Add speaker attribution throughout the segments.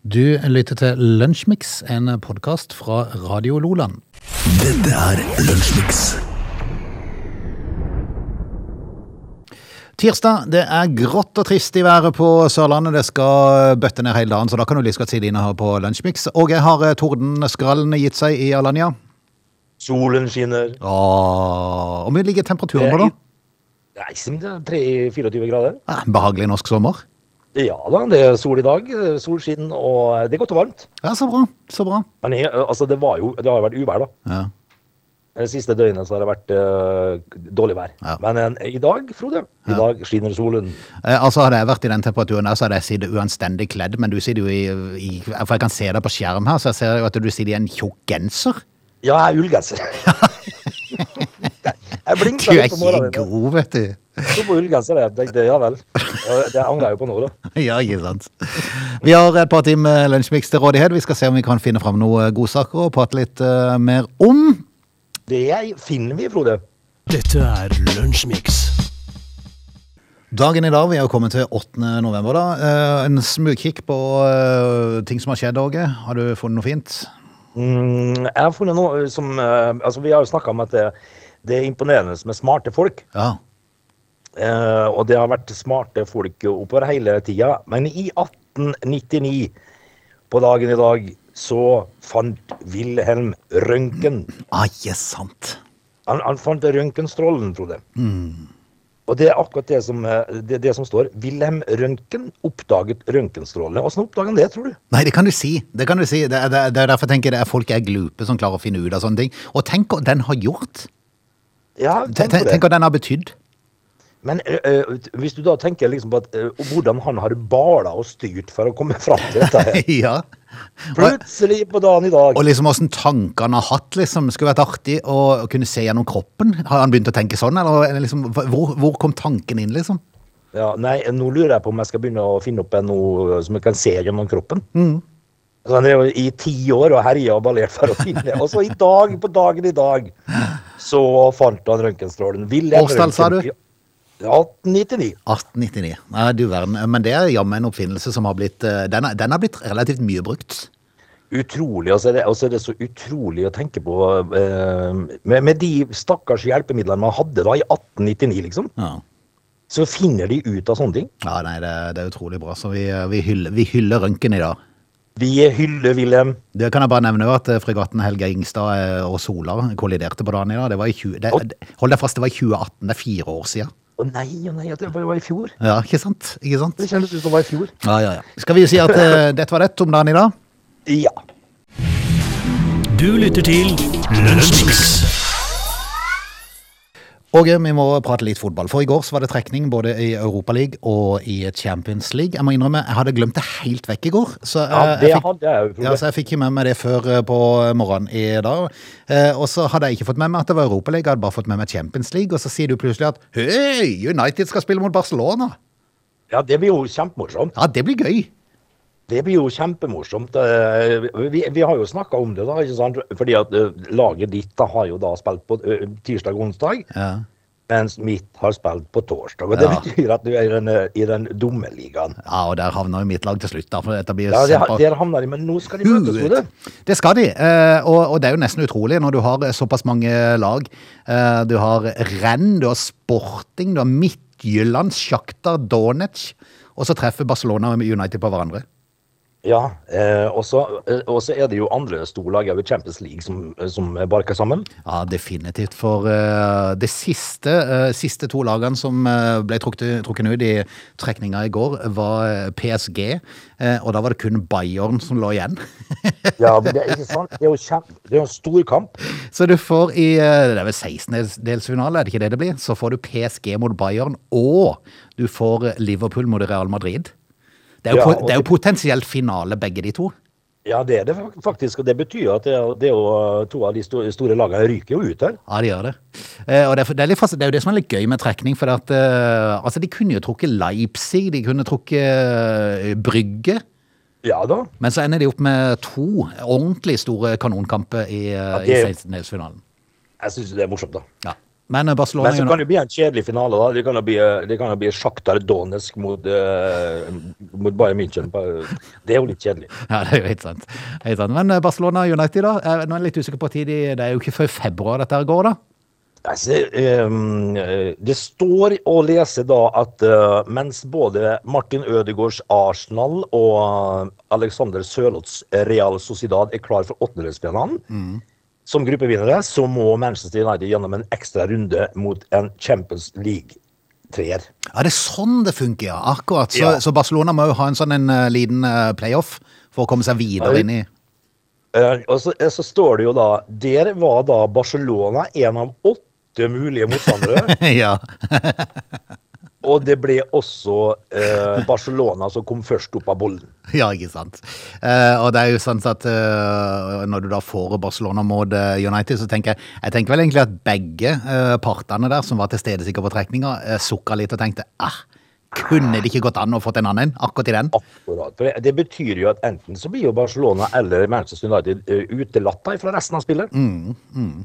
Speaker 1: Du lytter til Lunsjmix, en podkast fra Radio Loland.
Speaker 2: Dette er Lunsjmix.
Speaker 1: Tirsdag, det er grått og trist i været på Sørlandet. Det skal bøtte ned hele dagen, så da kan du like godt si dine her på Lunsjmix. Og jeg har eh, tordenskrallene gitt seg i Alanya.
Speaker 3: Solen skinner.
Speaker 1: Åh, og vi ligger temperaturen på da.
Speaker 3: Nei, som det er 3-24 grader.
Speaker 1: Ja, en behagelig norsk sommer.
Speaker 3: Ja da, det er sol i dag. eh, Solskinn, og det er godt og varmt.
Speaker 1: Ja, så bra. Så bra.
Speaker 3: Men jeg, altså, det, var jo, det har jo vært uvær, da.
Speaker 1: Ja.
Speaker 3: Det siste døgnet så har det vært eh, dårlig vær.
Speaker 1: Ja.
Speaker 3: Men eh, i dag, Frode, i dag skinner solen.
Speaker 1: Eh, Altså Hadde jeg vært i den temperaturen der, så hadde jeg sittet uanstendig kledd, men du sitter jo i, i For jeg kan se deg på skjerm her, så jeg ser jo at du sitter i en tjukk genser.
Speaker 3: Ja, jeg er ullgenser. jeg
Speaker 1: Du er
Speaker 3: blinka Mm, litt på
Speaker 1: ikke
Speaker 3: morgenen.
Speaker 1: god, vet du.
Speaker 3: Så på ullgenser, jeg tenkte ja vel. Og Det angrer jeg jo på nå, da.
Speaker 1: Ja, ikke sant. Vi har et par timer lunsjmix til rådighet. Vi skal se om vi kan finne fram noen godsaker og prate litt eh, mer om.
Speaker 3: Det er- finner vi, Frode.
Speaker 2: Dette er Lunsjmix.
Speaker 1: Dagen i dag, vi er jo kommet til 8. november da. Eh, En smugkikk på eh, ting som har skjedd, Åge. Har du funnet noe fint?
Speaker 3: Mm, jeg har funnet noe som eh, Altså, vi har jo snakka om at det, det er imponerende med smarte folk.
Speaker 1: Ja.
Speaker 3: Eh, og det har vært smarte folk oppover hele tida. Men i 1899, på dagen i dag, så fant Wilhelm røntgen.
Speaker 1: Ah, yes, sant.
Speaker 3: Han, han fant røntgenstrålen, Frode.
Speaker 1: Mm.
Speaker 3: Og det er akkurat det som, eh, det, det som står. Wilhelm Røntgen oppdaget røntgenstrålene. Åssen oppdaget han det, tror du?
Speaker 1: Nei, det kan du si. Det kan du si. Det er, det er- det er derfor jeg tenker det er folk er glupe som klarer å finne ut av sånne ting. Og tenk hva den har gjort.
Speaker 3: Ja,
Speaker 1: Tenk, tenk
Speaker 3: tenk på det.
Speaker 1: hva den har betydd.
Speaker 3: Men eh, eh, hvis du da tenker liksom på at, eh, hvordan han har bala og styrt for å komme fram til dette her.
Speaker 1: ja. Og,
Speaker 3: Plutselig på dagen i dag.
Speaker 1: og liksom åssen tanker han har hatt, liksom. Det Skulle vært artig å kunne se gjennom kroppen. Har han begynt å tenke sånn, eller liksom, hvor, hvor kom tanken inn, liksom?
Speaker 3: Ja, nei, nå lurer jeg på om jeg skal begynne å finne opp en noe som jeg kan se gjennom kroppen.
Speaker 1: Mm.
Speaker 3: Så han drev i ti år og herja og ballert for å finne Og så i dag, på dagen i dag, så fant han røntgenstrålen. Wilhelm
Speaker 1: Årstall, sa
Speaker 3: Røntgen
Speaker 1: du?
Speaker 3: i 1899.
Speaker 1: 1899. Nei, du verden. Men det er jammen en oppfinnelse som har blitt eh, Den er- den har blitt relativt mye brukt.
Speaker 3: Utrolig. Og så er det, og så er det så utrolig å tenke på eh, med, med de stakkars hjelpemidlene man hadde da i 1899, liksom.
Speaker 1: Ja.
Speaker 3: Så finner de ut av sånne ting.
Speaker 1: Ja, nei, det, det er utrolig bra. Så vi, eh, vi hyller, vi hyller røntgen i dag.
Speaker 3: Vi hyller Wilhelm.
Speaker 1: Det kan jeg bare nevne også at eh, fregatten Helge Ingstad eh, og Sola kolliderte på dagen i dag. Det var i 20, det,
Speaker 3: Oi.
Speaker 1: det- hold deg fast, det var i 2018. Det er fire år siden.
Speaker 3: Å nei, å nei, det var i fjor.
Speaker 1: Ja, ikke sant? Ikke sant?
Speaker 3: Det kjennes ut som det var i fjor.
Speaker 1: Ja, ja, ja. Skal vi si at eh, dette var det om dagen i dag?
Speaker 3: Ja.
Speaker 2: Du lytter til Lunsjmix.
Speaker 1: Åge, eh, vi må prate litt fotball. For i går så var det trekning både i Europaligaen og i Champions League. Jeg må innrømme, jeg hadde glemt det helt vekk i går. Så
Speaker 3: Ja,
Speaker 1: eh,
Speaker 3: det
Speaker 1: jeg, fikk,
Speaker 3: hadde jeg jo, Frode.
Speaker 1: ja, altså- så jeg fikk ikke med meg det før eh, på morgenen i dag. Eh, Og så hadde jeg ikke fått med meg at det var Europaligaen, jeg hadde bare fått med meg Champions League. Og så sier du plutselig at hei, United skal spille mot Barcelona.
Speaker 3: Ja, det blir jo kjempemorsomt.
Speaker 1: Ja, det blir gøy.
Speaker 3: Det blir jo kjempemorsomt. Eh, Vi, vi har jo snakka om det, da. ikke sant? Fordi at eh, laget ditt da har jo da spilt på eh, tirsdag og onsdag,
Speaker 1: Ja.
Speaker 3: mens mitt har spilt på torsdag. Og det
Speaker 1: Ja.
Speaker 3: betyr at du er i den, eh, i den dumme ligaen.
Speaker 1: ja, og der havna jo mitt lag til slutt, da. For dette blir
Speaker 3: Ja, det,
Speaker 1: kjempe-
Speaker 3: der havner de, men nå skal de møtes, Frode.
Speaker 1: Det skal de, eh, og, og det er jo nesten utrolig når du har eh, såpass mange lag. Eh, Du har renn, du har sporting, du har Midtjylland, Sjaktar, Donetsk, og så treffer Barcelona og United på hverandre.
Speaker 3: Ja, eh, og så eh, og så er det jo andre storlag over Champions League som, eh, som barker sammen.
Speaker 1: Ja, definitivt. For eh, det siste, eh, siste to lagene som eh, ble trukket, trukken ut i trekninga i går, var eh, PSG, eh, og da var det kun Bayern som lå igjen.
Speaker 3: Ja, men Det er ikke sant? Det er jo kjempe, det er jo en stor kamp.
Speaker 1: Så du får i eh, det er vel 16-delsfinale, er det ikke det det blir? Så får du PSG mot Bayern, og du får Liverpool mot Real Madrid. Det er jo,
Speaker 3: Ja,
Speaker 1: po-
Speaker 3: og-
Speaker 1: det er jo potensielt finale, begge de to.
Speaker 3: Ja, det er det fak- faktisk. Og det betyr jo at det, er- det er jo eh, to av de sto- store lagene ryker jo ut her.
Speaker 1: Ja, de gjør det. Eh, Og det er, det, er litt, fast- det er jo det som er litt gøy med trekning, for at, eh, altså, de kunne jo trukket Leipzig, de kunne trukket eh, Brygge,
Speaker 3: Ja da.
Speaker 1: men så ender de opp med to ordentlig store kanonkamper i, eh,
Speaker 3: det
Speaker 1: i
Speaker 3: er jo-
Speaker 1: 16-delsfinalen.
Speaker 3: Jeg syns det er morsomt, da.
Speaker 1: Ja. Men eh, Barcelona
Speaker 3: Men så kan det bli en kjedelig finale. da. Det kan jo bli, eh, det kan jo bli Shakhtar Donetsk mot, eh, mot Bayern München. Bare- Det er jo litt kjedelig.
Speaker 1: Ja, det er jo helt sant. Helt sant. Men eh, Barcelona United, da? Eh, Nå er jeg litt usikker på tid. i- Det er jo ikke før februar dette her går, da.
Speaker 3: Altså, ehm, eh, det står å lese da at eh, mens både Martin Ødegaards Arsenal og Alexander Sørloths Real Sociedad er klar for åttendedelsfinalen som gruppevinnere, så må Manchester United gjennom en ekstra runde mot en Champions League-treer.
Speaker 1: Ja, det er sånn det funker, ja. Akkurat. Så,
Speaker 3: Ja.
Speaker 1: så Barcelona må jo ha en sånn en eh, liten eh, playoff for å komme seg videre
Speaker 3: Oi.
Speaker 1: inn i
Speaker 3: Eh, og så, eh, så står det jo da Der var da Barcelona en av åtte mulige motstandere.
Speaker 1: Ja.
Speaker 3: og det ble også eh, Barcelona som kom først opp av bollen.
Speaker 1: ja, ikke sant. Eh, og det er jo sant at eh, når du da får Barcelona mot eh, United, så tenker jeg Jeg tenker vel egentlig at begge eh, partene der som var til stede sikkert på trekninga, uh, sukka litt og tenkte ah, kunne det ikke gått an å fått en annen en akkurat i den?
Speaker 3: Akkurat. For det, det betyr jo at enten så blir jo Barcelona eller Manchester United eh, utelatt da fra resten av spillet.
Speaker 1: Mm,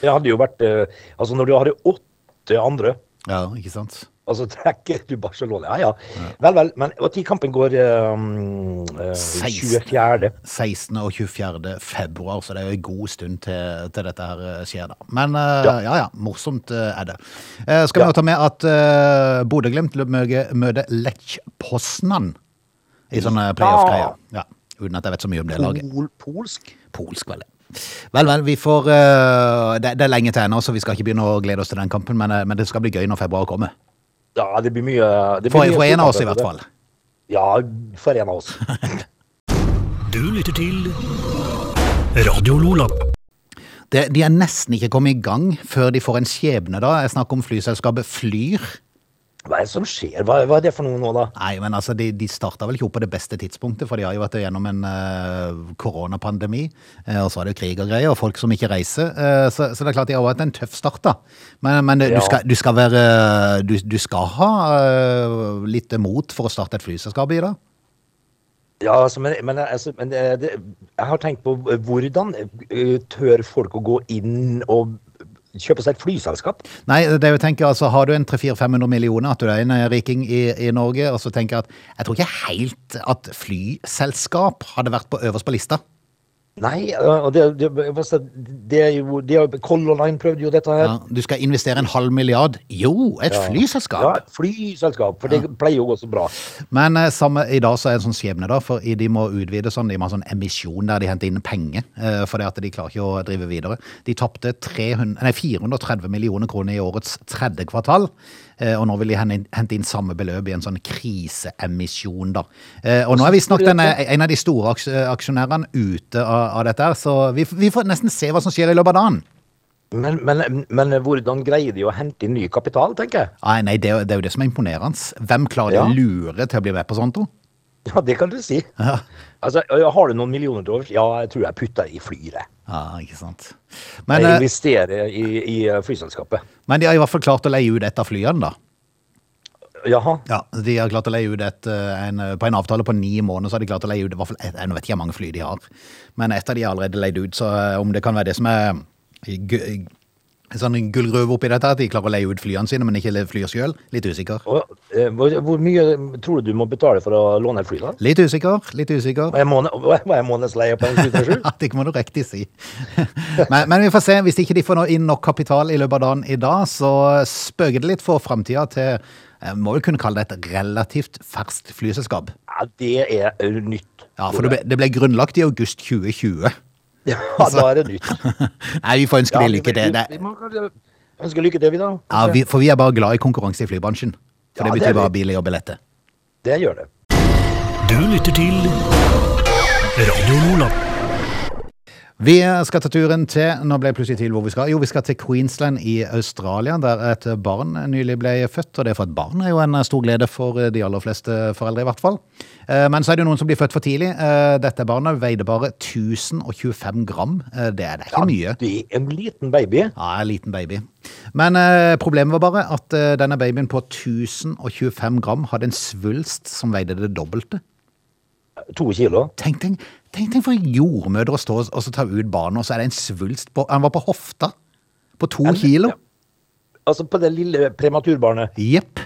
Speaker 3: Det hadde jo vært eh, Altså, når du hadde åtte andre
Speaker 1: Ja, ikke sant.
Speaker 3: Altså trekker du Barcelona Ja, ja. Vel, vel. Men og til kampen går eh, mm, eh,
Speaker 1: 16.
Speaker 3: 24.
Speaker 1: 16. og 24. februar, så det er jo en god stund til, til dette her eh, skjer. da. Men eh, ja.
Speaker 3: Ja.
Speaker 1: ja morsomt eh, er det. Eh, skal vi
Speaker 3: Ja.
Speaker 1: jo ta med at uh, Bodø-Glimt møter møte Lech Poznan i sånne playoff-greier. Ja. Uten at jeg vet så mye om det laget.
Speaker 3: Pol, polsk.
Speaker 1: Polsk, vel. Vel, vel, vi får eh, det, det er lenge til ennå, så vi skal ikke begynne å glede oss til den kampen, men, eh, men det skal bli gøy når februar kommer.
Speaker 3: Ja, det blir mye det blir
Speaker 1: For,
Speaker 3: mye
Speaker 1: for en av oss, i hvert
Speaker 3: fotball, det.
Speaker 1: fall.
Speaker 3: Ja, for en av oss.
Speaker 2: Du lytter til Radio Lola.
Speaker 1: Det, de er nesten ikke kommet i gang før de får en skjebne, da. Jeg snakker om flyselskapet Flyr.
Speaker 3: Hva er det som skjer? Hva, hva er det for noe nå, da?
Speaker 1: Nei, men altså, de, de starta vel ikke opp på det beste tidspunktet, for de har jo vært gjennom en eh, koronapandemi, eh, og så er det jo krig og greier, og folk som ikke reiser. eh, så, så det er klart de har hatt en tøff start, da. Men, men det, du,
Speaker 3: Ja.
Speaker 1: skal, du skal være du, du skal ha eh, litt mot for å starte et flyselskap i dag.
Speaker 3: Ja, altså, men, men, altså, men det, det, jeg har tenkt på hvordan eh, tør folk å gå inn og kjøpe seg et flyselskap?
Speaker 1: Nei, det er jo, tenker, jeg, altså, har du en 300-400-500 millioner, at du er en eh, riking i, i Norge, og så tenker jeg at jeg tror ikke helt at flyselskap hadde vært på øverst på lista.
Speaker 3: Nei, eh, og det, det, altså, det er jo det er, Color Line prøvde jo dette her.
Speaker 1: Ja, du skal investere en halv milliard. Jo, et
Speaker 3: Ja.
Speaker 1: flyselskap!
Speaker 3: Ja, flyselskap, for det pleier jo å gå så bra.
Speaker 1: Men eh, samme, i dag så er det en sånn skjebne, da, for i- de må utvide sånn, de må ha sånn emisjon der de henter inn penger, eh, for det at de klarer ikke å drive videre. De tapte 300 nei, 430 millioner kroner i årets tredje kvartal, eh, og nå vil de hen- hente inn samme beløp i en sånn kriseemisjon, da. Eh, Og nå er visstnok den, eh, en av de store aks- eh, aksjonærene ute av, av dette her, så vi, f- vi får nesten se hva som skjer i løpet av dagen.
Speaker 3: Men, men, men hvordan greier de å hente inn ny kapital, tenker jeg?
Speaker 1: Nei, nei, det er jo det, er jo det som er imponerende. Hvem klarer de
Speaker 3: Ja.
Speaker 1: å lure til å bli med på sånt, tro?
Speaker 3: Ja, det kan du si.
Speaker 1: Ja.
Speaker 3: Altså, har du noen millioner til overs? Ja, jeg tror jeg putter i flyet.
Speaker 1: Ja, ikke sant.
Speaker 3: Men,
Speaker 1: eh,
Speaker 3: jeg investerer i, i eh, flyselskapet.
Speaker 1: Men de har i hvert fall klart å leie ut et av flyene, da.
Speaker 3: Jaha.
Speaker 1: Ja, De har klart å leie ut et, eh, en, eh, På en avtale på ni måneder så har de klart å leie ut i hvert fall et, jeg vet ikke hvor mange fly de har. Men ett av de er allerede leid ut, så eh, om det kan være det som er eh, gu- en sånn gullrøve oppi dette, at de klarer å leie ut flyene sine, men ikke le- flyer sjøl, litt usikker.
Speaker 3: Og, eh, hvor, hvor mye tror du du må betale for å låne et fly? da?
Speaker 1: Litt usikker, litt usikker.
Speaker 3: Hva er måned- hva er- hva er månedsleie på en 737?
Speaker 1: Ja, det må du riktig si. Men, men vi får se. Hvis ikke de får nå inn nok kapital i løpet av dagen i dag, så spøker det litt for framtida til jeg må vel kunne kalle det et relativt ferskt flyselskap.
Speaker 3: Ja, det er eh, nytt.
Speaker 1: Ja, for det ble, det ble grunnlagt i august 2020.
Speaker 3: Ja, da er det nytt.
Speaker 1: Nei, Altså, vi får ønske
Speaker 3: Ja,
Speaker 1: de lykke til.
Speaker 3: vi-
Speaker 1: Det,
Speaker 3: vi må kanskje ønske lykke til, vi, da.
Speaker 1: ja, vi, for vi er bare glad i konkurranse i flybransjen. For
Speaker 3: Ja,
Speaker 1: det
Speaker 3: det
Speaker 1: betyr
Speaker 3: er vi.
Speaker 1: bare billig og billetter.
Speaker 3: Det gjør det.
Speaker 2: Du lytter til Radio Lola.
Speaker 1: Vi eh, skal ta turen til Nå ble jeg plutselig til hvor vi skal. Jo, vi skal til Queensland i Australia, der et barn nylig ble født. Og det for et barn er jo en stor glede for eh, de aller fleste foreldre, i hvert fall. Eh, Men så er det jo noen som blir født for tidlig. Eh, Dette barnet veide bare 1025 gram. Eh, Det er, det er ikke mye.
Speaker 3: Det er en liten baby.
Speaker 1: Ja, en liten baby. Men eh, problemet var bare at eh, denne babyen på 1025 gram hadde en svulst som veide det dobbelte.
Speaker 3: To kilo.
Speaker 1: Tenk, tenk, tenk, tenk for jordmødre å stå og så ta ut barnet, og så er det en svulst på Han var på hofta. På to kilo.
Speaker 3: Ja. altså på det lille prematurbarnet,
Speaker 1: Jepp.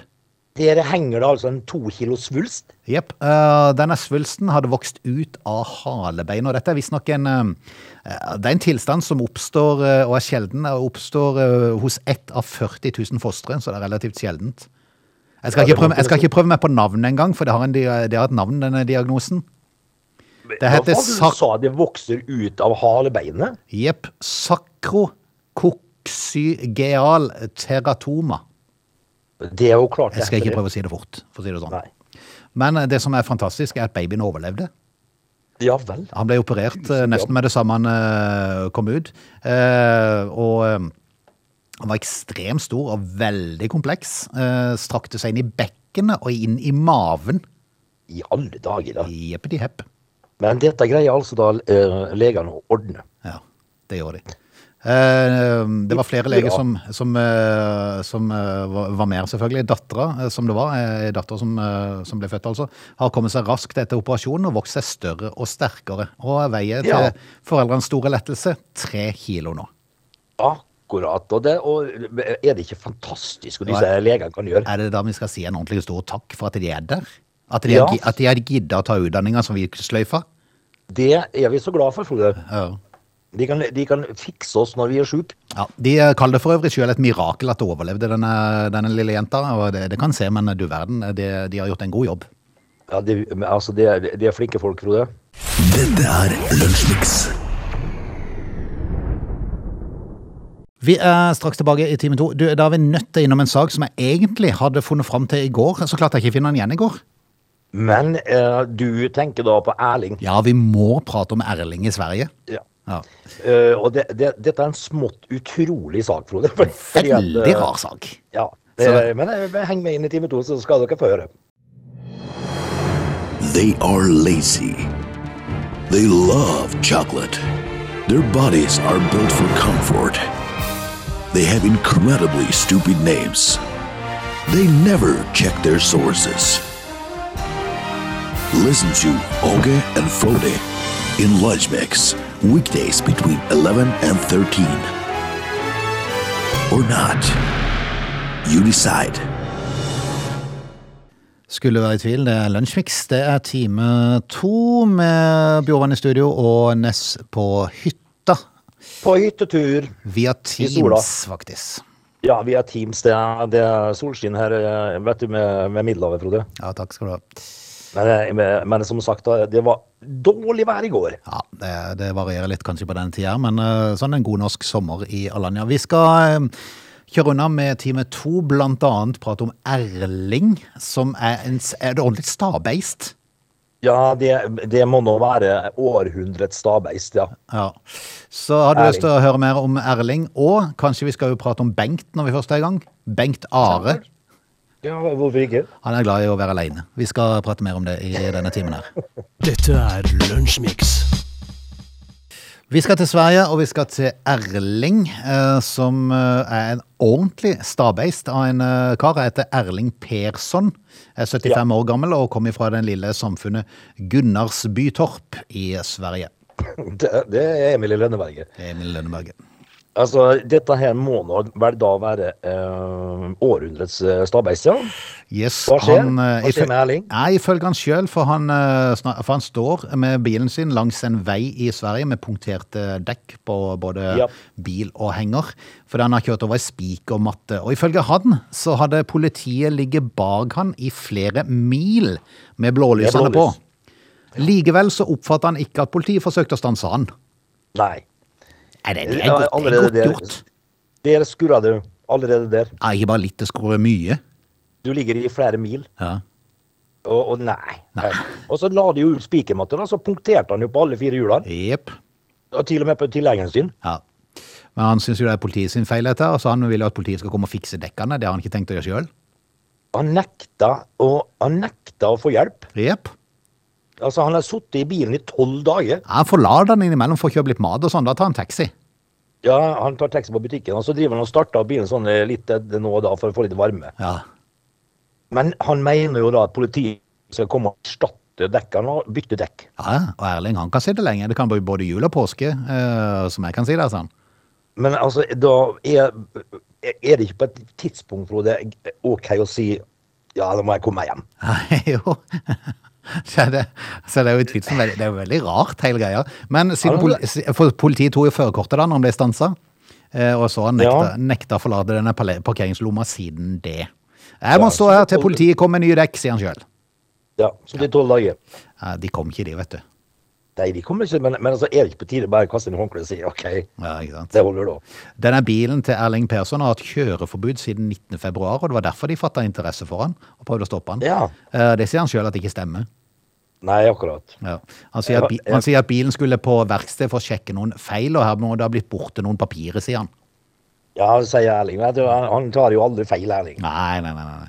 Speaker 3: der henger det altså en to kilo svulst.
Speaker 1: Jepp. Eh, denne svulsten hadde vokst ut av halebein, og dette er visstnok en eh, Det er en tilstand som oppstår, eh, og er sjelden, og oppstår eh, hos ett av 40 000 fostre, så det er relativt sjeldent. Jeg skal,
Speaker 3: Ja,
Speaker 1: ikke
Speaker 3: det må
Speaker 1: prøve, jeg skal
Speaker 3: kunne-
Speaker 1: ikke prøve meg på navnet engang, for det har, en, dia- det har et navn, denne diagnosen. Det
Speaker 3: Hva
Speaker 1: heter
Speaker 3: faen,
Speaker 1: sak-
Speaker 3: Du sa det vokser ut av halebeinet?
Speaker 1: Jepp. Sakrokoxygeal teratoma.
Speaker 3: Det er jo klart.
Speaker 1: Jeg skal
Speaker 3: det
Speaker 1: ikke
Speaker 3: heter
Speaker 1: prøve å si det fort, for å si det sånn.
Speaker 3: Nei.
Speaker 1: Men eh, det som er fantastisk, er at babyen overlevde.
Speaker 3: det. Ja vel.
Speaker 1: Han ble operert eh, nesten med det samme han eh, kom ut. Eh, og eh, han var ekstremt stor og veldig kompleks. Eh, strakte seg inn i bekkenet og inn i maven.
Speaker 3: I alle dager, da.
Speaker 1: Jeppeti hepp.
Speaker 3: Men dette greier altså da eh, legene å ordne.
Speaker 1: Ja, det gjorde de. Eh, det var flere leger
Speaker 3: Ja.
Speaker 1: som, som, eh, som eh, var var med, selvfølgelig. Dattera eh, som det var, eh, datter som, eh, som ble født, altså, har kommet seg raskt etter operasjonen og vokst seg større og sterkere. Og veier til
Speaker 3: Ja.
Speaker 1: foreldrenes store lettelse tre kilo nå.
Speaker 3: Akkurat. Og, det, og er det ikke fantastisk hva disse legene kan gjøre?
Speaker 1: Er det da vi skal si en ordentlig stor takk for at de er der? At de,
Speaker 3: Ja.
Speaker 1: har gi- at de har gidda å ta utdanninga som vi sløyfa?
Speaker 3: Det er vi så glad for, Frode.
Speaker 1: Ja.
Speaker 3: De kan, de kan fikse oss når vi er sjuke.
Speaker 1: Ja, De kaller det for øvrig sjøl et mirakel at det overlevde, denne, denne lille jenta. og Det, det kan se, men eh, du verden, de, de har gjort en god jobb.
Speaker 3: Ja, de, men altså, de, er, de er flinke folk, Frode.
Speaker 2: Dette er Lunsjmix.
Speaker 1: Vi er straks tilbake i time to. Du, da er vi nødt til innom en sak som jeg egentlig hadde funnet fram til i går. Så klarte jeg ikke å finne den igjen i går.
Speaker 3: Men eh, du tenker da på Erling.
Speaker 1: Ja, vi må prate om Erling i Sverige.
Speaker 3: Ja.
Speaker 1: Ja.
Speaker 3: Eh, og det, det, dette er en smått utrolig sak, Frode. Fordi at, eh,
Speaker 1: Veldig rar sak.
Speaker 3: Ja. Det,
Speaker 1: Så-
Speaker 3: men eh, heng med inn i time to, så skal dere få høre.
Speaker 4: They are lazy. They love chocolate. Their bodies are built for comfort. They have incredibly stupid names. They never check their sources. Listen to Oge and Frode in Lunch Mix, weekdays between 11 and 13. Or not. You decide.
Speaker 1: Skulle være i tvil, det er Lunsjmix. Det er time to med Bjorvann i studio og Ness på hytta.
Speaker 3: På hyttetur.
Speaker 1: Via
Speaker 3: sola.
Speaker 1: Teams, faktisk.
Speaker 3: Ja, vi er Teams. Det er, det er solskinn her, eh, vet du, med, med Middelhavet, Frode.
Speaker 1: Ja, takk skal du ha.
Speaker 3: Men, eh, men, men som sagt, da, det var dårlig vær i går.
Speaker 1: Ja, det, det varierer litt kanskje på den tida, her, men eh, sånn en god norsk sommer i Alanya. Vi skal eh, kjøre unna med time to, blant annet prate om Erling, som er, en, s- er det ordentlig stabeist.
Speaker 3: Ja, det, det må nå være århundrets stabeist, ja.
Speaker 1: Ja. Så har du lyst
Speaker 3: Erling.
Speaker 1: til å høre mer om Erling, og kanskje vi skal jo prate om Bengt når vi først er i gang. Bengt Are.
Speaker 3: Ja, hvorfor ikke?
Speaker 1: Han er glad i å være aleine. Vi skal prate mer om det i denne timen her.
Speaker 2: Dette er Lunsjmix.
Speaker 1: Vi skal til Sverige, og vi skal til Erling, eh, som eh, er en ordentlig stabeist av en eh, kar. Han heter Erling Persson, er 75 år gammel og kommer fra den lille samfunnet Gunnarsbytorp i Sverige.
Speaker 3: Det, det er Emil i Lønneberget.
Speaker 1: Emil Lønneberget.
Speaker 3: Altså, dette her må nå vel da være eh, århundrets eh, stabeist, ja.
Speaker 1: Yes,
Speaker 3: Hva skjer?
Speaker 1: eh,
Speaker 3: Hva skjer med Erling?
Speaker 1: Nei, ifølge han sjøl, for, han, eh, sna- for han står med bilen sin langs en vei i Sverige med punkterte dekk på både
Speaker 3: Ja.
Speaker 1: bil og henger, fordi han har kjørt over ei spikermatte. Og ifølge han så hadde politiet ligget bak han i flere mil med blålysene
Speaker 3: Med
Speaker 1: på.
Speaker 3: blålys.
Speaker 1: Likevel så oppfatta han ikke at politiet forsøkte å stanse han.
Speaker 3: Nei.
Speaker 1: Nei, det, det er
Speaker 3: Ja,
Speaker 1: godt, det er
Speaker 3: allerede
Speaker 1: godt
Speaker 3: der-
Speaker 1: gjort.
Speaker 3: Der skurra du. Allerede der.
Speaker 1: Ja, ikke bare litt, det skulle vært mye.
Speaker 3: Du ligger i flere mil.
Speaker 1: Ja.
Speaker 3: Og, og nei. Eh, Og så la de jo ut spikermatte, da, så punkterte han jo på alle fire hjulene.
Speaker 1: Jepp.
Speaker 3: Og til og med på tilhengeren sin.
Speaker 1: Ja. Men han syns jo det er politiet sin feil, dette, her, så han vil jo at politiet skal komme og fikse dekkene. Det har han ikke tenkt å gjøre sjøl.
Speaker 3: Han nekta, å- han nekta å få hjelp.
Speaker 1: Jepp.
Speaker 3: Altså, han har sittet i bilen i tolv dager.
Speaker 1: Han forlater den innimellom for å kjøpe litt mat og sånn. Da tar han taxi.
Speaker 3: Ja, han tar taxi på butikken, og så driver han og starter opp bilen sånn eh, litt eh, nå og da for å få litt varme.
Speaker 1: Ja.
Speaker 3: Men han mener jo da at politiet skal komme og erstatte dekkene og bytte dekk.
Speaker 1: ja. Og Erling han kan sitte lenge. Det kan bli både jul og påske, eh, som jeg kan si det. sånn.
Speaker 3: Men altså, da er, er det ikke på et tidspunkt, Frode, OK å si ja, da må jeg komme meg hjem?
Speaker 1: Nei, jo. Så er det, så det er jo utvilsomt veldig, det er jo veldig rart, hele greia. Men siden poli, si- for politiet tok jo førerkortet da når han ble stansa, eh, og så har han nekta,
Speaker 3: Ja.
Speaker 1: nekta å forlate denne pale- parkeringslomma siden det. Jeg må
Speaker 3: Ja,
Speaker 1: stå
Speaker 3: så-
Speaker 1: her til politiet kommer med nye dekk, sier han sjøl.
Speaker 3: Ja, Så de tolv dager.
Speaker 1: Eh, De kom ikke, de, vet du.
Speaker 3: Nei, de kommer ikke, men, men altså, er det ikke på tide å bare kaste inn håndkleet og si OK,
Speaker 1: Ja, ikke sant?
Speaker 3: det holder da?
Speaker 1: Denne bilen til Erling Persson har hatt kjøreforbud siden 19. februar, og det var derfor de fatta interesse for han og prøvde å stoppe han.
Speaker 3: Ja.
Speaker 1: Eh, Det sier han sjøl at det ikke stemmer.
Speaker 3: Nei, akkurat.
Speaker 1: Ja. Han, sier at, bi- han sier at bilen skulle på verksted for å sjekke noen feil, og her må det ha blitt borte noen papirer, sier han.
Speaker 3: Ja, sier Erling. Vet du, han- han tar jo aldri feil, Erling.
Speaker 1: Nei, nei, nei. nei.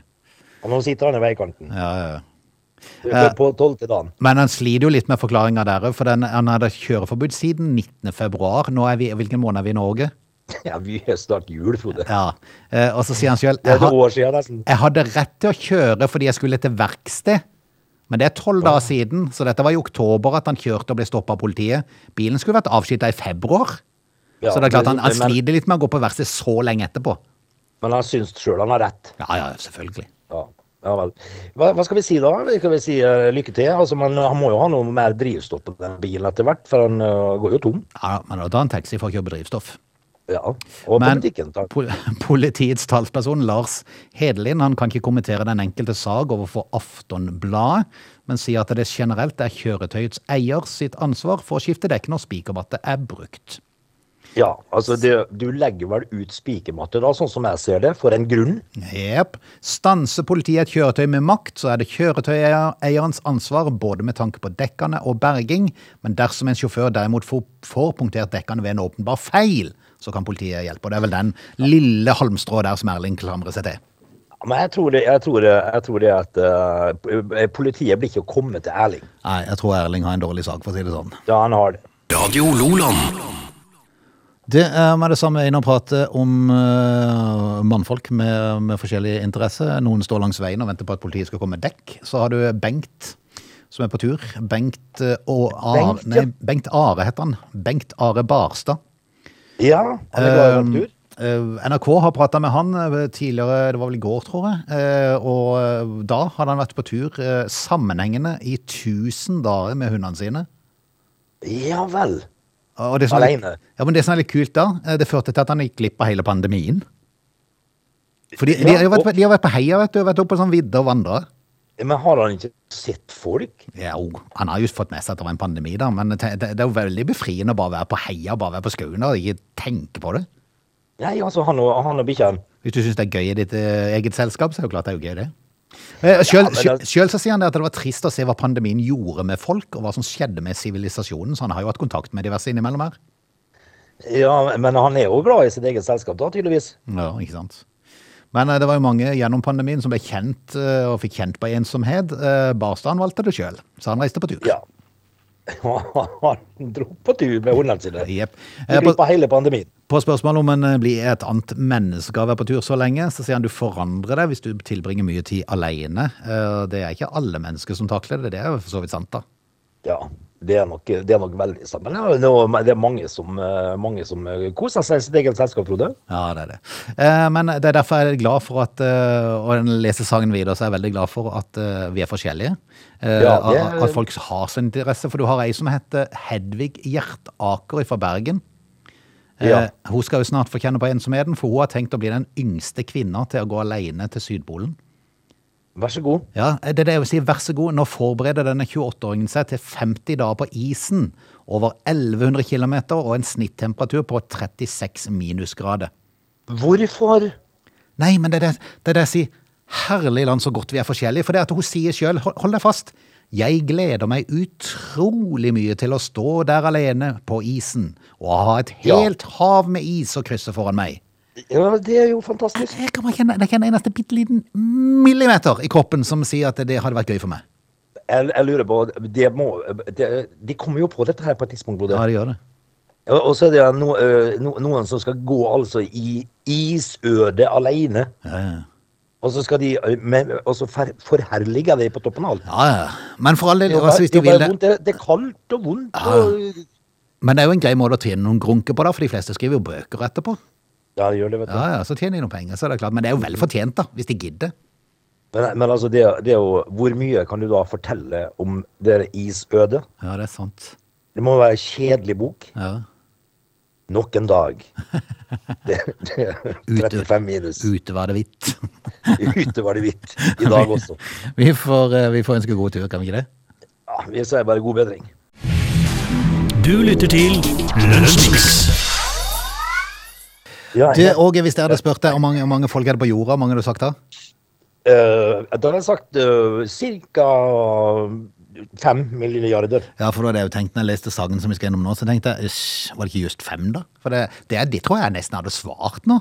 Speaker 3: Og nå sitter han i veikanten.
Speaker 1: Ja, ja, Eh. ja.
Speaker 3: På- På tolvte dagen.
Speaker 1: Men han sliter jo litt med forklaringa der, for den, han hadde kjøreforbud siden 19. februar. Nå er vi, hvilken måned er vi i Norge?
Speaker 3: Ja, vi er snart jul, Frode.
Speaker 1: Ja. Eh, Og så sier han sjøl
Speaker 3: Det er et år siden nesten.
Speaker 1: Jeg hadde rett til å kjøre fordi jeg skulle til verksted. Men det er tolv dager siden, så dette var i oktober at han kjørte og ble stoppa av politiet. Bilen skulle vært avskilta i februar.
Speaker 3: Ja,
Speaker 1: så det er klart han, han
Speaker 3: men-
Speaker 1: sliter litt med å gå på verksted så lenge etterpå.
Speaker 3: Men han syns sjøl han har rett.
Speaker 1: Ja, ja, selvfølgelig.
Speaker 3: Ja, ja vel. Hva, hva skal vi si da? Vi Skal vi si eh, lykke til? Altså, man, han må jo ha noe mer drivstoff på den bilen etter hvert, for han eh, går jo tom.
Speaker 1: Ja, men da tar han taxi for å kjøpe drivstoff.
Speaker 3: Ja. Og
Speaker 1: Men
Speaker 3: politikken, takk.
Speaker 1: pol politiets talsperson Lars Hedelin han kan ikke kommentere den enkelte sag overfor Aftonbladet, men sier at det generelt er kjøretøyets eier sitt ansvar for å skifte dekk når spikermatte er brukt.
Speaker 3: Ja, altså, det, du legger vel ut spikermatte, da, sånn som jeg ser det, for en grunn.
Speaker 1: Jepp. Stanser politiet et kjøretøy med makt, så er det kjøretøyeierens ansvar både med tanke på dekkene og berging, men dersom en sjåfør derimot får, får punktert dekkene ved en åpenbar feil, så kan politiet hjelpe. Og det er vel den lille halmstrå der som Erling klamrer seg til.
Speaker 3: Ja, Men jeg tror det, jeg tror det, jeg tror det at eh, p- eh, politiet blir ikke å komme til Erling.
Speaker 1: Nei, jeg tror Erling har en dårlig sak, for å si det sånn.
Speaker 3: Ja, han har det.
Speaker 2: Radio Loland.
Speaker 1: Det er med det samme inn og prate om eh, mannfolk med, med forskjellig interesse. Noen står langs veien og venter på at politiet skal komme med dekk. Så har du Bengt som er på tur. Bengt eh, og Are
Speaker 3: Bengt, ja.
Speaker 1: Nei, Bengt Are heter han. Bengt Are Barstad.
Speaker 3: Ja, Ehm, han er glad i natur.
Speaker 1: Eh, NRK har prata med han eh, tidligere, det var vel i går, tror jeg. Eh, og eh, da hadde han vært på tur eh, sammenhengende i 1000 dager med hundene sine.
Speaker 3: Ja vel.
Speaker 1: Og det som er litt-
Speaker 3: Alene.
Speaker 1: Ja, men det som er litt kult da, eh, det førte til at han gikk glipp av hele pandemien. Fordi de,
Speaker 3: Ja,
Speaker 1: har jo vært,
Speaker 3: og-
Speaker 1: de har vært på heia, vet du, vært oppe på sånn vidde og vandra.
Speaker 3: Men har han ikke sett folk?
Speaker 1: Ja, jo, han har jo fått med seg at det var en pandemi, da, men det, det det er jo veldig befriende å bare være på heia, bare være på skauen og ikke tenke på det.
Speaker 3: Nei, altså, han og, han og bikkjen.
Speaker 1: Hvis du syns det er gøy i ditt eh, eget selskap, så er det jo klart det er jo gøy, det. Eh, Sjøl
Speaker 3: Ja, men det-
Speaker 1: sjøl så sier han det at det var trist å se hva pandemien gjorde med folk, og hva som skjedde med sivilisasjonen, så han har jo hatt kontakt med diverse innimellom her.
Speaker 3: Ja, men han er jo glad i sitt eget selskap da, tydeligvis.
Speaker 1: Ja, ikke sant. Men eh, det var jo mange gjennom pandemien som ble kjent eh, og fikk kjent på ensomhet. Eh, Barstad han valgte det sjøl, så han reiste på tur.
Speaker 3: Ja. Han dro på tur med hundene sine.
Speaker 1: Jep.
Speaker 3: Vi
Speaker 1: Eh,
Speaker 3: gikk
Speaker 1: På,
Speaker 3: på hele pandemien.
Speaker 1: på spørsmål om en eh, blir et annet menneske av å være på tur så lenge, så sier han du forandrer deg hvis du tilbringer mye tid alene. Eh, Det er ikke alle mennesker som takler det, det er jo for så vidt sant, da.
Speaker 3: Ja, det er nok, det er nok veldig sant. Men det er jo- det er mange som, eh, mange som eh, koser seg i sitt eget selskap, Frode.
Speaker 1: Ja, det er det. Eh, Men det er derfor jeg er glad for at eh, Og jeg leser sangen videre, så er jeg veldig glad for at eh, vi er forskjellige. Eh,
Speaker 3: Ja, det-
Speaker 1: at- At folk har sin interesse. For du har ei som heter Hedvig Hjertaker fra Bergen. Eh,
Speaker 3: Ja.
Speaker 1: Hun skal jo snart få kjenne på ensomheten, for hun har tenkt å bli den yngste kvinna til å gå alene til Sydpolen.
Speaker 3: Vær så god.
Speaker 1: Ja, eh, det er det jeg vil si. Vær så god, nå forbereder denne 28-åringen seg til 50 dager på isen. Over 1100 km og en snittemperatur på 36 minusgrader.
Speaker 3: Hvorfor?
Speaker 1: Nei, men det er det, det, er det jeg sier. Herlig land, så godt vi er forskjellige. For det at hun sier sjøl, hold, hold deg fast, jeg gleder meg utrolig mye til å stå der alene på isen og ha et
Speaker 3: Ja.
Speaker 1: helt hav med is å krysse foran meg.
Speaker 3: Ja, det er jo fantastisk.
Speaker 1: Jeg kan bare kjenne, det er ikke en eneste bitte liten millimeter i kroppen som sier at det hadde vært gøy for meg.
Speaker 3: Jeg, jeg lurer på det må, det, De kommer jo på dette her på et tidspunkt, Frode.
Speaker 1: Ja, det gjør det.
Speaker 3: Og og så er det no, eh, no, noen som skal gå altså i isøde alene.
Speaker 1: Ja, ja.
Speaker 3: Og så skal de eh, men, Og så fer- forherliger de på toppen av alt.
Speaker 1: Ja, ja. Men for all del,
Speaker 3: Det er
Speaker 1: altså,
Speaker 3: bare-
Speaker 1: hvis
Speaker 3: det
Speaker 1: de
Speaker 3: er
Speaker 1: vil Ah.
Speaker 3: bare
Speaker 1: det.
Speaker 3: vondt. Det er- det er kaldt og vondt. Og,
Speaker 1: Men det er jo en grei måte å tjene noen grunker på, da, for de fleste skriver jo bøker etterpå.
Speaker 3: Ja, det gjør det, vet du.
Speaker 1: Ja, ja, Så tjener de noen penger, så er det klart. Men det er jo vel fortjent, da, hvis de gidder.
Speaker 3: Men, men altså, det, det er jo Hvor mye kan du da fortelle om det isødet?
Speaker 1: Ja, det er sant.
Speaker 3: Det må være en kjedelig bok.
Speaker 1: Ja.
Speaker 3: Nok en dag. Det, det, er 35 minus.
Speaker 1: Ute var det hvitt.
Speaker 3: Ute var det hvitt. I dag også.
Speaker 1: Vi får, eh, vi får ønske god tur, kan vi ikke det?
Speaker 3: Ja, vi sier bare god bedring.
Speaker 2: Du lytter til Lunsjmix.
Speaker 3: Ja,
Speaker 1: Du,
Speaker 3: jeg,
Speaker 1: Åge, hvis jeg hadde spurt deg om mange, hvor mange folk er det på jorda, hvor mange har du sagt da?
Speaker 3: eh, da har jeg sagt uh, ca. fem milliarder.
Speaker 1: Ja, for da hadde jeg jo tenkt, når jeg leste sangen som vi skal gjennom nå, så tenkte jeg, «Ish, var det ikke just fem da? For det, det, er- det tror jeg nesten hadde svart nå.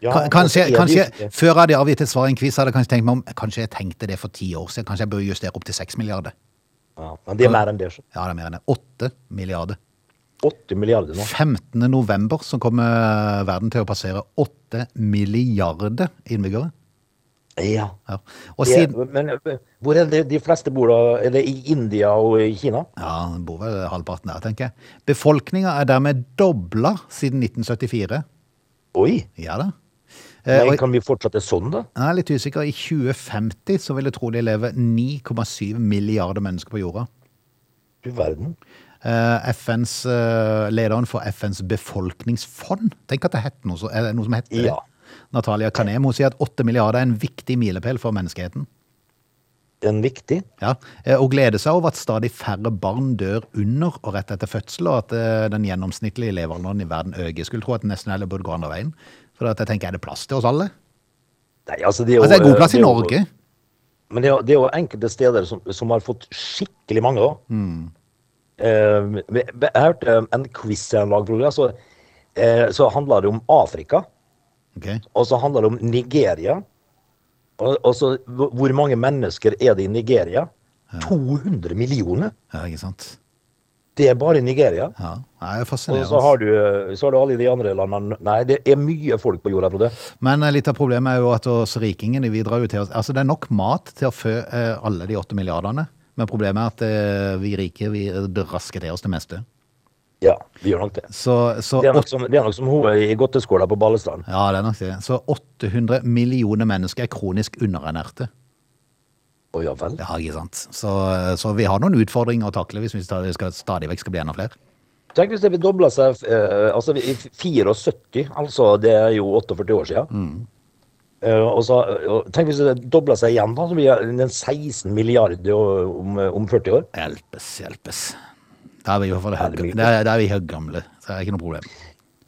Speaker 3: Ja,
Speaker 1: Ka- Kanskje,
Speaker 3: og så er det jo
Speaker 1: kanskje
Speaker 3: ikke det.
Speaker 1: før jeg hadde avgitt et svar i en quiz, hadde jeg kanskje tenkt meg om, kanskje jeg tenkte det for ti år siden, kanskje jeg bør justere opp til seks milliarder.
Speaker 3: ja, Men det er mer enn det. så.
Speaker 1: Ja, det er mer enn det. Åtte milliarder.
Speaker 3: Åtte milliarder nå.
Speaker 1: 15. november så kommer verden til å passere åtte milliarder innbyggere.
Speaker 3: Ja.
Speaker 1: Ja. Og
Speaker 3: Det,
Speaker 1: siden...
Speaker 3: men eh, hvor er det de fleste bor da? Er det i India og i Kina?
Speaker 1: Ja, den bor vel halvparten der, tenker jeg. Befolkninga er dermed dobla siden 1974.
Speaker 3: Oi!
Speaker 1: Ja da. Eh,
Speaker 3: Men
Speaker 1: og
Speaker 3: kan vi fortsette sånn, da?
Speaker 1: jeg er litt usikker. I 2050 så vil jeg tro det lever 9,7 milliarder mennesker på jorda.
Speaker 3: Du verden.
Speaker 1: Eh, FNs, eh, lederen for FNs befolkningsfond Tenk at det het noe, så- er det noe som heter
Speaker 3: Ja.
Speaker 1: det. Natalia Kanem hun sier at 8 milliarder er en viktig milepæl for menneskeheten.
Speaker 3: En viktig.
Speaker 1: Ja, eh, Og gleder seg over at stadig færre barn dør under og rett etter fødsel, og at eh, den gjennomsnittlige levealderen i verden øker. Skulle tro at den nesten heller burde gå andre veien. For at jeg tenker, er det plass til oss alle?
Speaker 3: Nei, altså det er jo
Speaker 1: Altså, Det er god plass
Speaker 3: det
Speaker 1: i
Speaker 3: er jo-
Speaker 1: Norge.
Speaker 3: Men det er, jo- det er jo enkelte steder som, som har fått skikkelig mange, da.
Speaker 1: Mm.
Speaker 3: Eh, vi- vi- jeg hørte eh, en quiz jeg lagde, Frode, så, eh, så handla det om Afrika.
Speaker 1: Ok.
Speaker 3: Og så handla det om Nigeria. Og, og så hvor hvor mange mennesker er det i Nigeria? 200 millioner!
Speaker 1: Ja, ikke sant.
Speaker 3: Det er bare i Nigeria.
Speaker 1: Ja, det er
Speaker 3: Og så
Speaker 1: fascinerende.
Speaker 3: har, du, eh, så har du alle de andre landene Nei, det er mye folk på jorda, Frode.
Speaker 1: Men eh, litt av problemet er jo at oss rikingene vi drar jo til oss Altså, det er nok mat til å fø eh, alle de åtte milliardene, men problemet er at eh, vi rike vi rasker til oss det meste.
Speaker 3: Ja, vi gjør nok det.
Speaker 1: Så, så
Speaker 3: Det er nok som, det er nok som hun i godteskolen på Balestrand.
Speaker 1: Ja, det er nok det. Så 800 millioner mennesker er kronisk underernærte.
Speaker 3: Å ja vel.
Speaker 1: Ja, ikke sant. Så, så vi har noen utfordringer å takle hvis vi stadig, skal, stadig vekk skal bli enda flere.
Speaker 3: Tenk hvis det vil doble seg eh, altså i 74, altså det er jo 48 år siden. Eh, og så, og tenk hvis det dobler seg igjen, da, så blir det den 16 milliarder om, om 40 år.
Speaker 1: Hjelpes, hjelpes. Da er vi i hvert fall høy,
Speaker 3: Herregud.
Speaker 1: da er, da er vi høygamle, så det er ikke noe problem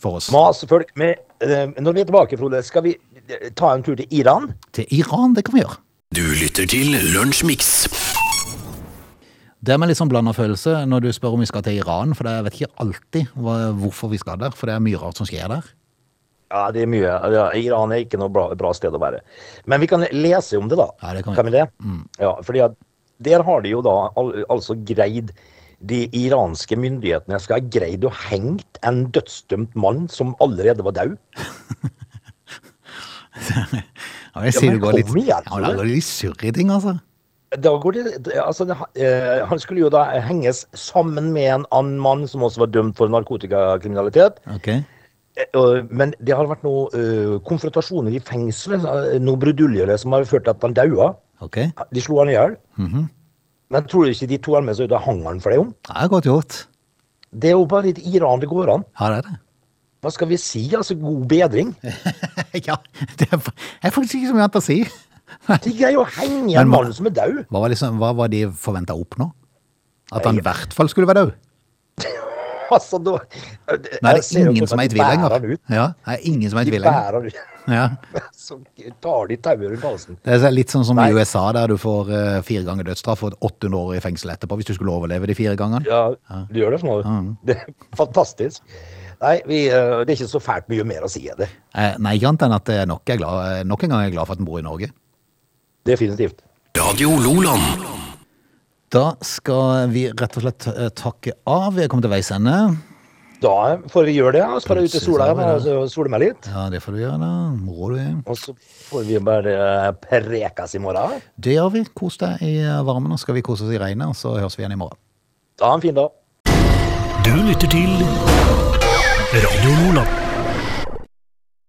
Speaker 1: for oss.
Speaker 3: Mas folk med eh, Når vi er tilbake, Frode, skal vi eh, ta en tur til Iran?
Speaker 1: Til Iran, det kan vi gjøre.
Speaker 2: Du lytter til Lunsjmix.
Speaker 1: Det er med litt sånn blanda følelse når du spør om vi skal til Iran, for jeg vet ikke alltid hva, hvorfor vi skal der, for det er mye rart som skjer der.
Speaker 3: Ja, det er mye. Ja, Iran er ikke noe bra, bra sted å være. Men vi kan lese om det, da.
Speaker 1: Ja, det kan vi.
Speaker 3: vi Mm. det? Ja, fordi at der har de jo da al altså greid De iranske myndighetene skal ha greid å hengt en dødsdømt mann som allerede var død.
Speaker 1: Ja, jeg sier
Speaker 3: men
Speaker 1: det går litt,
Speaker 3: kom igjen,
Speaker 1: ja, det
Speaker 3: Frode.
Speaker 1: går litt surr i ting, altså.
Speaker 3: Da går det, det- altså, det, eh, han skulle jo da henges sammen med en annen mann som også var dømt for narkotikakriminalitet.
Speaker 1: Ok.
Speaker 3: Eh, og- Men det har vært noen eh, konfrontasjoner i fengselet, eh, noen bruduljere som har ført til at han daua.
Speaker 1: Ok. Ja,
Speaker 3: De slo han i hjel.
Speaker 1: Mhm.
Speaker 3: Men tror du ikke de to armene så ut av hang han for det om?
Speaker 1: det er godt gjort.
Speaker 3: Det er jo bare litt Iran det går an.
Speaker 1: Ja, det er det.
Speaker 3: Hva skal vi si? Altså, god bedring.
Speaker 1: Ja, det er, fa- jeg er faktisk ikke så mye annet å si.
Speaker 3: De greier å henge
Speaker 1: Men
Speaker 3: en
Speaker 1: hva-
Speaker 3: mann som er død.
Speaker 1: Hva var, liksom, hva var de forventa opp nå? At han i hvert fall skulle være død?
Speaker 3: Altså, da
Speaker 1: Nei,
Speaker 3: jeg
Speaker 1: det
Speaker 3: ser
Speaker 1: er
Speaker 3: jo
Speaker 1: ingen
Speaker 3: for
Speaker 1: som
Speaker 3: meg
Speaker 1: er i tvil
Speaker 3: at De bærer
Speaker 1: lenger.
Speaker 3: han ut.
Speaker 1: Ja, det er ingen som er i
Speaker 3: De
Speaker 1: tvil lenger.
Speaker 3: bærer han ut.
Speaker 1: Ja.
Speaker 3: Så tar de tauet rundt halsen.
Speaker 1: Det er litt sånn som i
Speaker 3: Nei.
Speaker 1: USA, der du får eh, fire ganger dødsstraff og 800 år i fengsel etterpå hvis du skulle overleve de fire gangene.
Speaker 3: Ja, du gjør det sånn. Mm. Det er fantastisk. Nei, vi, eh, det er ikke så fælt mye mer å si enn det.
Speaker 1: Eh, Nei, ikke annet enn at jeg nok, er glad, eh, nok en gang er jeg glad for at den bor i Norge.
Speaker 3: Definitivt.
Speaker 2: Radio Loland.
Speaker 1: Da skal vi rett og slett eh, takke av. Vi er kommet til veis ende.
Speaker 3: Da får vi gjøre det. og Så får jeg ut i
Speaker 1: Plutselig
Speaker 3: sola
Speaker 1: så er vi
Speaker 3: og så sole meg litt.
Speaker 1: Ja, det får du gjøre, da. Moro du er.
Speaker 3: Og så får vi bare eh, prekes i morgen.
Speaker 1: Det gjør vi. Kos deg i eh, varmen, og skal vi kose oss i regnet, og så høres vi igjen i morgen.
Speaker 3: Ha en fin dag.
Speaker 2: Du lytter til Radio Loland.